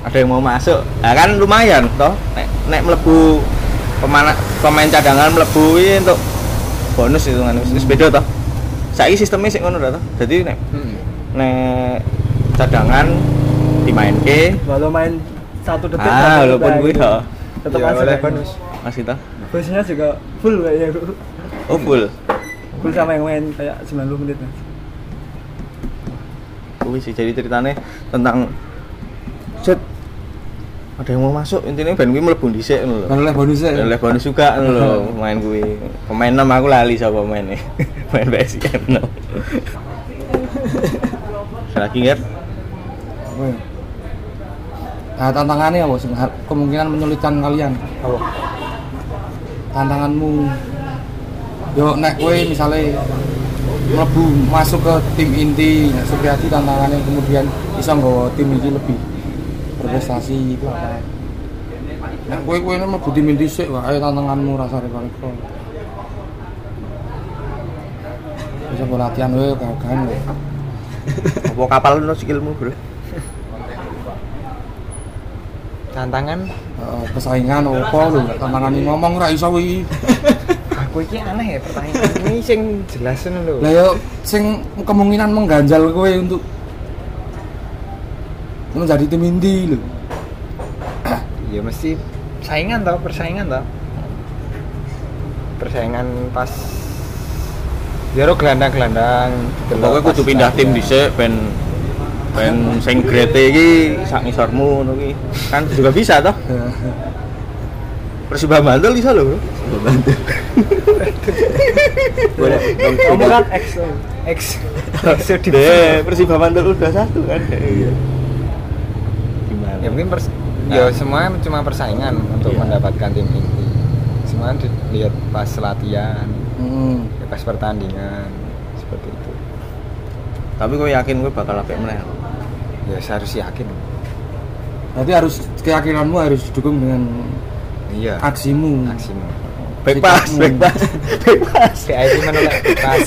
Ada yang mau masuk. Nah, kan lumayan toh nek nek mlebu pemana, pemain cadangan mlebu kuwi untuk bonus itu kan wis wis beda toh. Saiki sistemnya sik ngono dah toh. Jadi nek nek cadangan dimainke
Walau main satu detik.
Ah,
satu
walaupun
detik
gue
lagi,
ya.
Tetap
Iya,
Ya,
aja
oleh
kayak
bonus.
Mas kita.
Bonusnya juga full kayaknya Bu.
Oh full.
Full sama yang main kayak 90 menit mas.
Kuwi sih jadi ceritanya tentang set ada yang mau masuk intinya ben kuwi mlebu dhisik ngono lho.
Kan oleh bonus ya.
Dan oleh bonus juga ngono lho pemain kuwi. Pemain enam aku lali sapa pemainnya. Pemain PSM no. Lagi nggak?
Apa ya? Nah, tantangannya apa sih? Har- Kemungkinan menyulitkan kalian. Apa? Tantanganmu. Yo nek kowe misalnya mlebu masuk ke tim inti, nah, Supriyadi tantangannya kemudian bisa nggawa tim ini lebih berprestasi itu apa? Nek kowe kowe mlebu tim inti sik wae tantanganmu rasane paling kok. Bisa bola latihan wae kan.
Apa kapal no skillmu, Bro?
tantangan
Eh, persaingan opo lho tantangan ini ngomong ra iso kuwi
aku iki aneh ya pertanyaan ini sing jelasin
iya.
lho
lah yo sing kemungkinan mengganjal kowe untuk menjadi tim inti lho
ya mesti saingan tau persaingan tau persaingan pas Jero gelandang-gelandang delok
Pokoknya kudu
pas
pindah tim
latihan.
dhisik ben ben sing grade iki sak ngisormu ngono kuwi. Kan juga bisa toh. Persiba Bantul bisa lho, Bro.
kamu kan X X X
Deh, Persiba Bantul udah satu kan. Iya. Gimana?
ya mungkin pers- ya semuanya cuma persaingan untuk
Iya.
mendapatkan tim inti semua dilihat pas latihan
hmm.
ya pas pertandingan seperti itu
Tapi gue yakin gue bakal apik meneh.
ya saya harus yakin
berarti harus keyakinanmu harus didukung dengan
iya
aksimu
maksimal
Back pass, back pass. Back pass.
VIP menolak pas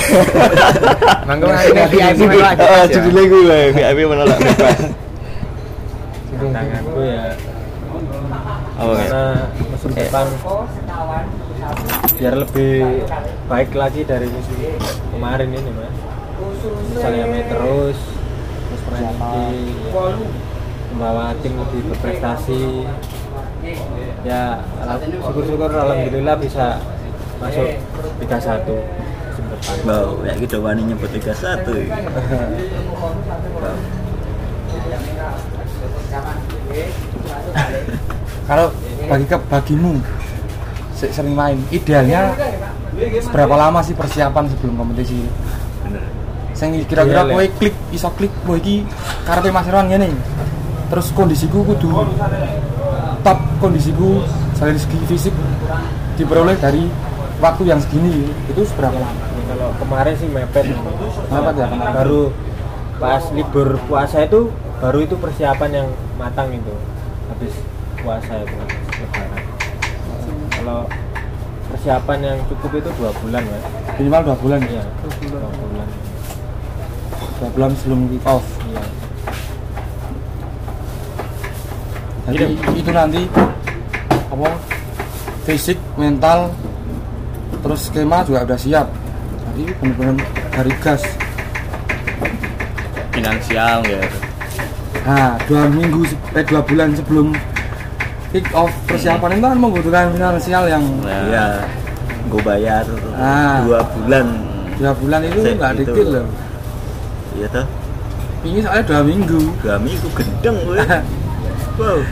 mangga mangga, ini VIP
Judul-
menolak
eh,
pas ya
Judulnya gue, VIP menolak back pass.
tanganku ya
Apa ya? kayak?
karena musim
Eh.
depan biar lebih baik lagi dari musim kemarin ini mas misalnya main terus terus berhenti membawa tim lebih berprestasi ya al- syukur-syukur alhamdulillah bisa masuk 3-1 musim depan
Bau, ya gitu wani nyebut 31 ya. Bau.
kalau bagi ke bagimu se- sering main idealnya seberapa lama sih persiapan sebelum kompetisi sing kira-kira
Ideal ya?
kowe klik iso klik kowe iki karepe Mas Irwan ngene terus kondisiku kudu top kondisiku dari segi fisik diperoleh dari waktu yang segini itu seberapa lama
Ini kalau kemarin sih mepet
Kenapa
ya?
dia kemarin?
baru pas libur puasa itu baru itu persiapan yang matang itu habis puasa itu habis lebaran kalau persiapan yang cukup itu dua bulan mas
minimal dua bulan ya
iya dua bulan
dua bulan sebelum kick off
iya
Jadi itu nanti apa fisik, mental, terus skema juga udah siap. Jadi benar-benar dari gas.
Finansial ya.
Nah, dua minggu se- eh dua bulan sebelum kick off persiapan itu kan membutuhkan finansial yang
Iya. Gue bayar
Ah.
dua bulan.
dua bulan itu
Sip,
nggak
itu.
detail loh.
Iya toh,
Ini soalnya dua minggu.
dua minggu gendeng gue. Wow.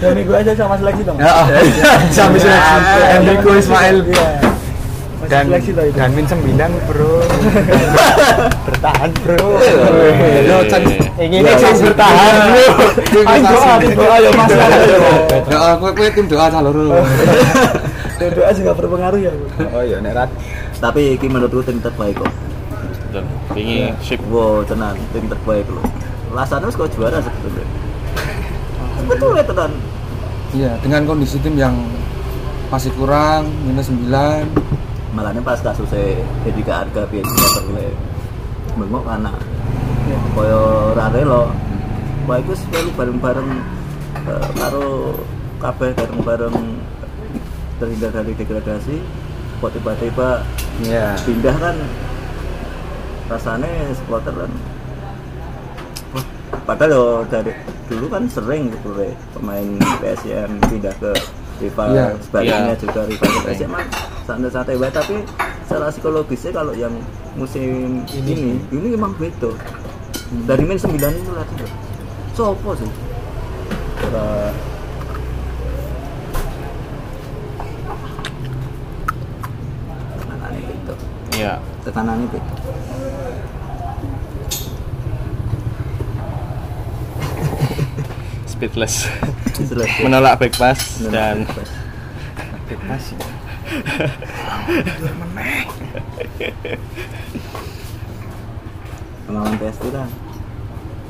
dua minggu aja sama seleksi dong
Ya, sampai
Ah,
sudah Enrico Ismail.
Iya.
Masih
dan
seleksi toh itu
dan min 9 bro bertahan bro
Yo, Chan.
ingin ini bertahan bro
Iya. Ayo doa, tim doa, yo Mas.
Ayo.
Yo, aku aku tim doa calon
Dan doa juga berpengaruh ya Bu.
oh iya nek rat
Tapi ini menurutku tim terbaik kok.
Ini sip.
Wow, tenan tim terbaik loh. Lasannya wis kok juara sebetulnya. Sebetulnya tenan.
Iya, dengan kondisi tim yang masih kurang minus 9
Malahnya pas kasusnya jadi ke harga biasanya terlalu bengok anak. Koyo rare lo. Wah itu selalu bareng-bareng eh, karo kabeh bareng-bareng terhindar dari degradasi. Kok tiba-tiba
iya
pindah kan rasanya supporter kan wah, padahal yo dari dulu kan sering gitu re, pemain PSM pindah ke rival
Iya.
sebaliknya
Iya.
juga rival ke PSM kan santai-santai wae tapi secara psikologisnya kalau yang musim ini ini, emang beda dari main 9 itu lagi sopo sih Ora- Tekanane itu.
Iya.
Tekanane itu.
Speedless. Menolak backpass dan
pengalaman PS itu kan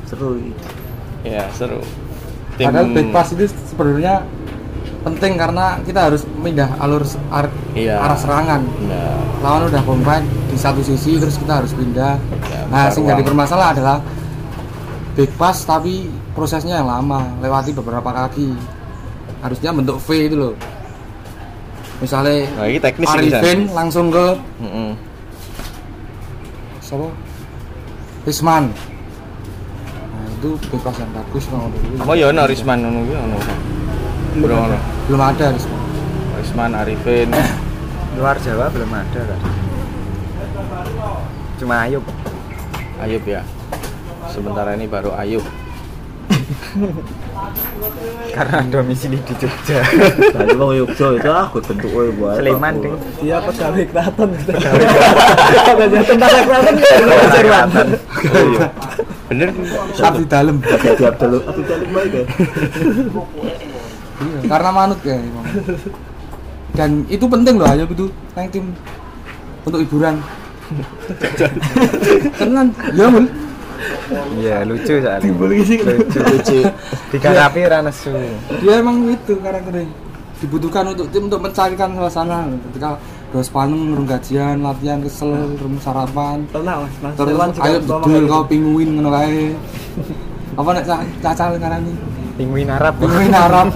seru gitu.
ya seru. Tim
Padahal back pass itu sebenarnya penting karena kita harus pindah alur s- ar-
Iya.
arah serangan.
Nah,
Lawan udah kompak di satu sisi terus kita harus pindah.
Ya,
nah,
besar
sing jadi
ruang.
bermasalah adalah back pass tapi prosesnya yang lama, lewati beberapa kaki. Harusnya bentuk V itu loh. Misalnya
Nah, ini teknis ini,
Arifin
San.
langsung ke
mm-mm.
siapa? Risman. Nah, itu bebas yang bagus mau dulu.
Apa ya ono Risman ngono kuwi ono. Belum ono.
Belum ada Risman.
Risman Arifin.
luar Jawa belum ada kan cuma Ayub
Ayub ya. Sementara ini baru Ayub.
karena domisili di Jogja
Tadi wong Yogyo itu aku bentuk kowe buat.
Sleman ding
dia pegawai keraton
katanya tentang Sleman Sleman
Oh, iya. Bener
Tapi dalam.
Jadi Abdul Abdul Jalil baik ya.
Iya, karena manut ya emang. Dan itu penting loh Ayub itu nang tim untuk hiburan. Tenan, ya mul.
iya lucu soalnya lucu lucu dikarapi ranesu
Dia Ya, emang itu karakternya dibutuhkan untuk tim untuk mencairkan suasana ketika dos panen urung gajian latihan kesel urung sarapan
tenang mas mas
terus
Sleman juga
ayo
ngomong
dudul
kayak gitu.
kau pinguin ngono kae apa nek ca- cacal ngarani
pinguin Arab
pinguin Arab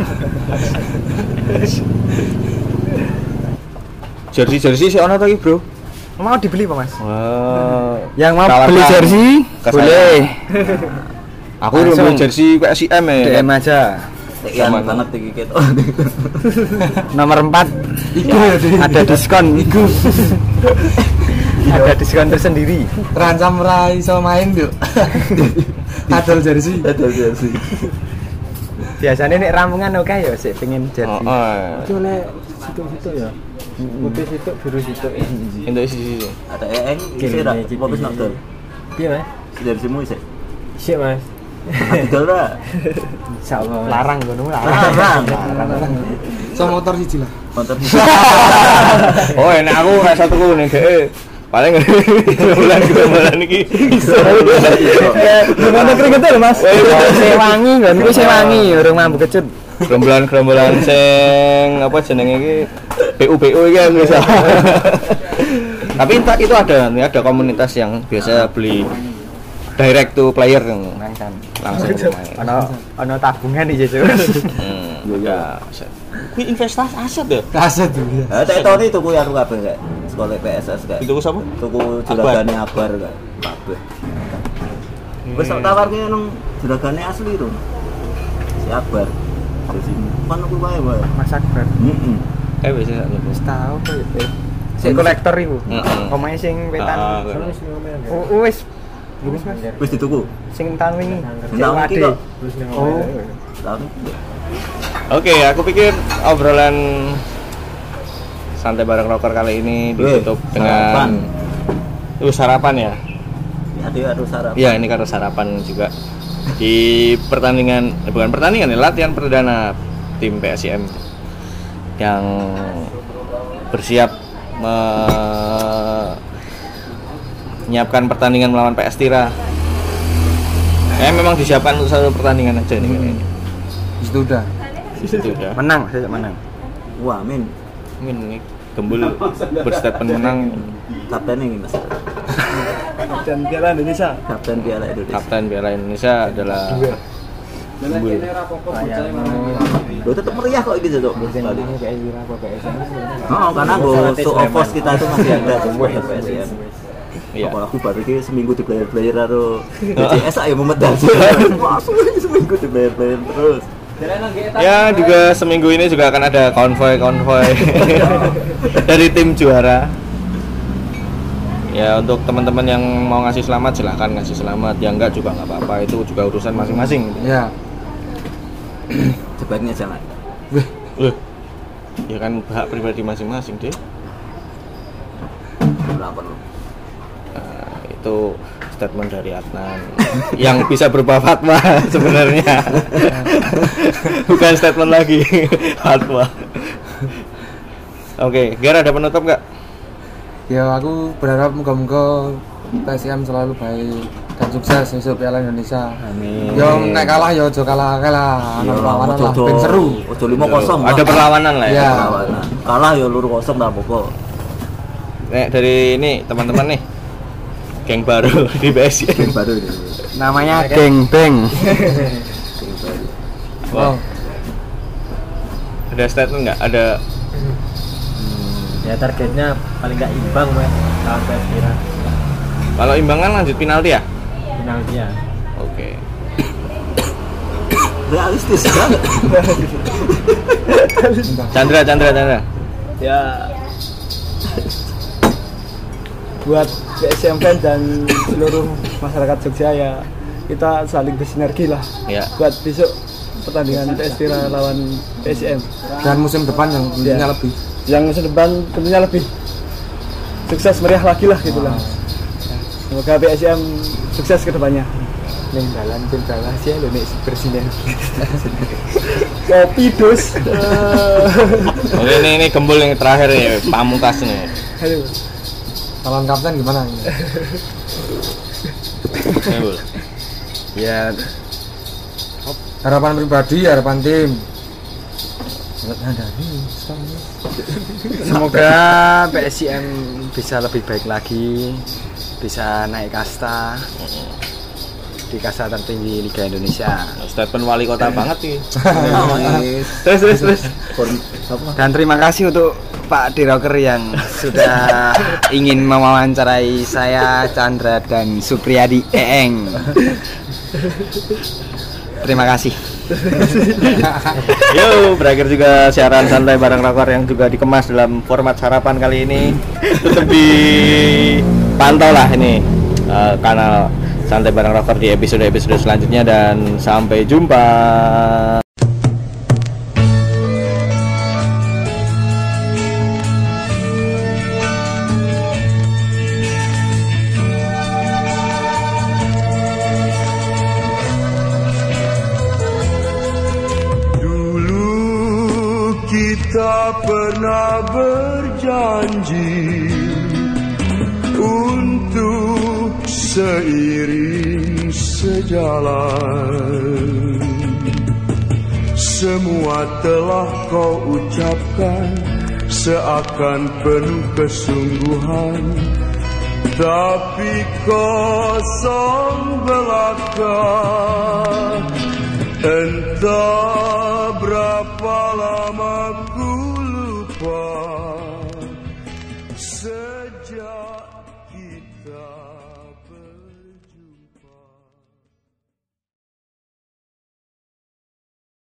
jersey jersey sih ono to iki, Bro?
gitu.
mau dibeli pak mas
Wah.
yang mau
Tawarkan
beli jersey
ke saya.
boleh
Aku udah
Langsung.
beli jersey kayak si M ya.
DM aja
Tekian Iya, banget iki Oh, ketok.
nomor 4
iku ya Dek.
ada diskon ada diskon tersendiri
terancam ra iso main yuk kadal jersey
Ada jersey.
biasanya nek ramungan oke ya sih pengen
Oh,
jersey
oh.
itu nek situ-situ ya putih situ biru situ
Untuk isi isi.
Ada E EN isi ra.
Gini,
Popis
gini.
Abdul.
Iya mas,
Jersimu isi.
Iya, mas.
Abdul ra.
Insyaallah, Mas.
larang gue larang
Larang.
so motor siji lah
Mantap.
Oh, enak aku kayak satu ku nih deh. Paling bulan kita bulan ini.
Gimana keringetnya lho mas?
iya.
Sewangi kan, gue sewangi, orang mampu kecut
Gerombolan gerombolan Iya. sing apa jenenge iki PU PU iki kan bisa. Tapi entah itu ada nih ada komunitas yang biasa beli direct to player yang
Mangkan
langsung ke pemain.
Ono, ono tabungan di situ
Hmm, ya. aset. Ini investasi aset ya?
kaset dulu ya
Ah, tak tahu nih tuku yang aku kabeh kayak sekolah PSS kayak.
Itu siapa?
Tuku juragane abar kayak. Kabeh.
Hmm.
Wis tak tawarke nang juragane asli rum. Si abar. Jadi kan aku wae wae.
Mas Akbar,
Heeh.
Eh biasa satu.
wis tau kok itu Si kolektor itu,
Heeh.
omahe sing
Hmm. Ah,
wetan
kan.
Oh.
U- Uwis, Uwis mas,
Wis dituku.
sing tahun wingi Sing
Tahun
wade.
iki kok.
Oh,
Tahun iki.
Oke, aku pikir obrolan santai bareng rocker kali ini
Weh,
ditutup
sarapan.
dengan sarapan. sarapan ya.
Ada harus sarapan.
Iya, ini karena sarapan juga di pertandingan eh, bukan pertandingan ya, latihan perdana tim PSIM yang bersiap me- menyiapkan pertandingan melawan PS Tira. Eh memang disiapkan untuk satu pertandingan aja ini kayaknya. Gitu ya.
itu udah
Itu udah.
menang, saya menang
Wah, men.
Min ini gembul berstatement menang
Kapten ini Mas.
dan piala Indonesia
Kapten Piala Indonesia.
kapten Piala Indonesia adalah gembul.
Lo tetap meriah kok ini tuh. Kali.
Ini kayak gila kok kayak
Oh, karena gue show of force kita itu masih ada semua ya PSM.
Iya.
Kalau aku baru ini seminggu di player player karo DCS ayo memedal. Wah, semuanya seminggu di player player terus.
Ya juga seminggu ini juga akan ada konvoy-konvoy dari tim juara. Ya untuk teman-teman yang mau ngasih Ya, selamat silahkan ngasih selamat, yang enggak juga nggak apa-apa itu juga urusan masing-masing.
ya
sebaiknya jangan
Loh. Ya kan hak pribadi masing-masing deh.
nggak perlu
Nah, itu statement dari Adnan yang bisa berupa fatwa sebenarnya. Bukan statement lagi, fatwa. Oke, Ger ada penutup nggak?
ya aku berharap moga-moga PSM selalu baik dan sukses besok Piala Indonesia. Amin. Yo nek kalah yo aja kalah kalah. Ana perlawanan lah ben seru.
ojo lima kosong
Ada perlawanan lah ya.
Iya.
Perlawanan. kalah ya luru kosong tak apa
Nek dari ini teman-teman nih. Geng baru di PSN.
baru ini
Namanya geng beng.
Wow. Ada statement nggak? Ada
ya targetnya paling nggak imbang mas lawan Persira
kalau imbangan lanjut penalti ya?
final dia
Oke.
realistis banget
Chandra, Chandra, Chandra.
ya buat PSM kan dan seluruh masyarakat Jogja ya kita saling bersinergi lah
Ya.
buat besok pertandingan Persira lawan PSM
Dan musim depan yang tentunya
Iya.
lebih.
yang musim depan tentunya lebih sukses meriah lagi lah gitu lah semoga PSM sukses ke depannya
Ning dalan pun dalan sih lho nek bersinergi.
kopi dus
Oke, Oh, ini ini gembul yang terakhir nih, pamungkas nih.
Aduh.
Calon kapten gimana ini?
Gembul.
Ya,
Harapan pribadi, harapan tim.
semoga PSM bisa lebih baik lagi, bisa naik kasta di kasta tertinggi Liga Indonesia.
Statement wali kota banget sih.
Nangis.
Terus terus terus.
Kon- apa
Dan terima kasih untuk Pak Diroker yang sudah ingin mewawancarai saya, Chandra dan Supriyadi Eeng. Terima kasih.
Yo, berakhir juga siaran santai bareng rakor yang juga dikemas dalam format sarapan kali ini. Tetap dipantau lah ini eh, kanal santai bareng rakor di episode-episode selanjutnya dan sampai jumpa.
Dulu kita pernah berjanji untuk seiring sejalan. Semua telah kau ucapkan seakan penuh kesungguhan, tapi kosong belaka. Entah berapa lama ku lupa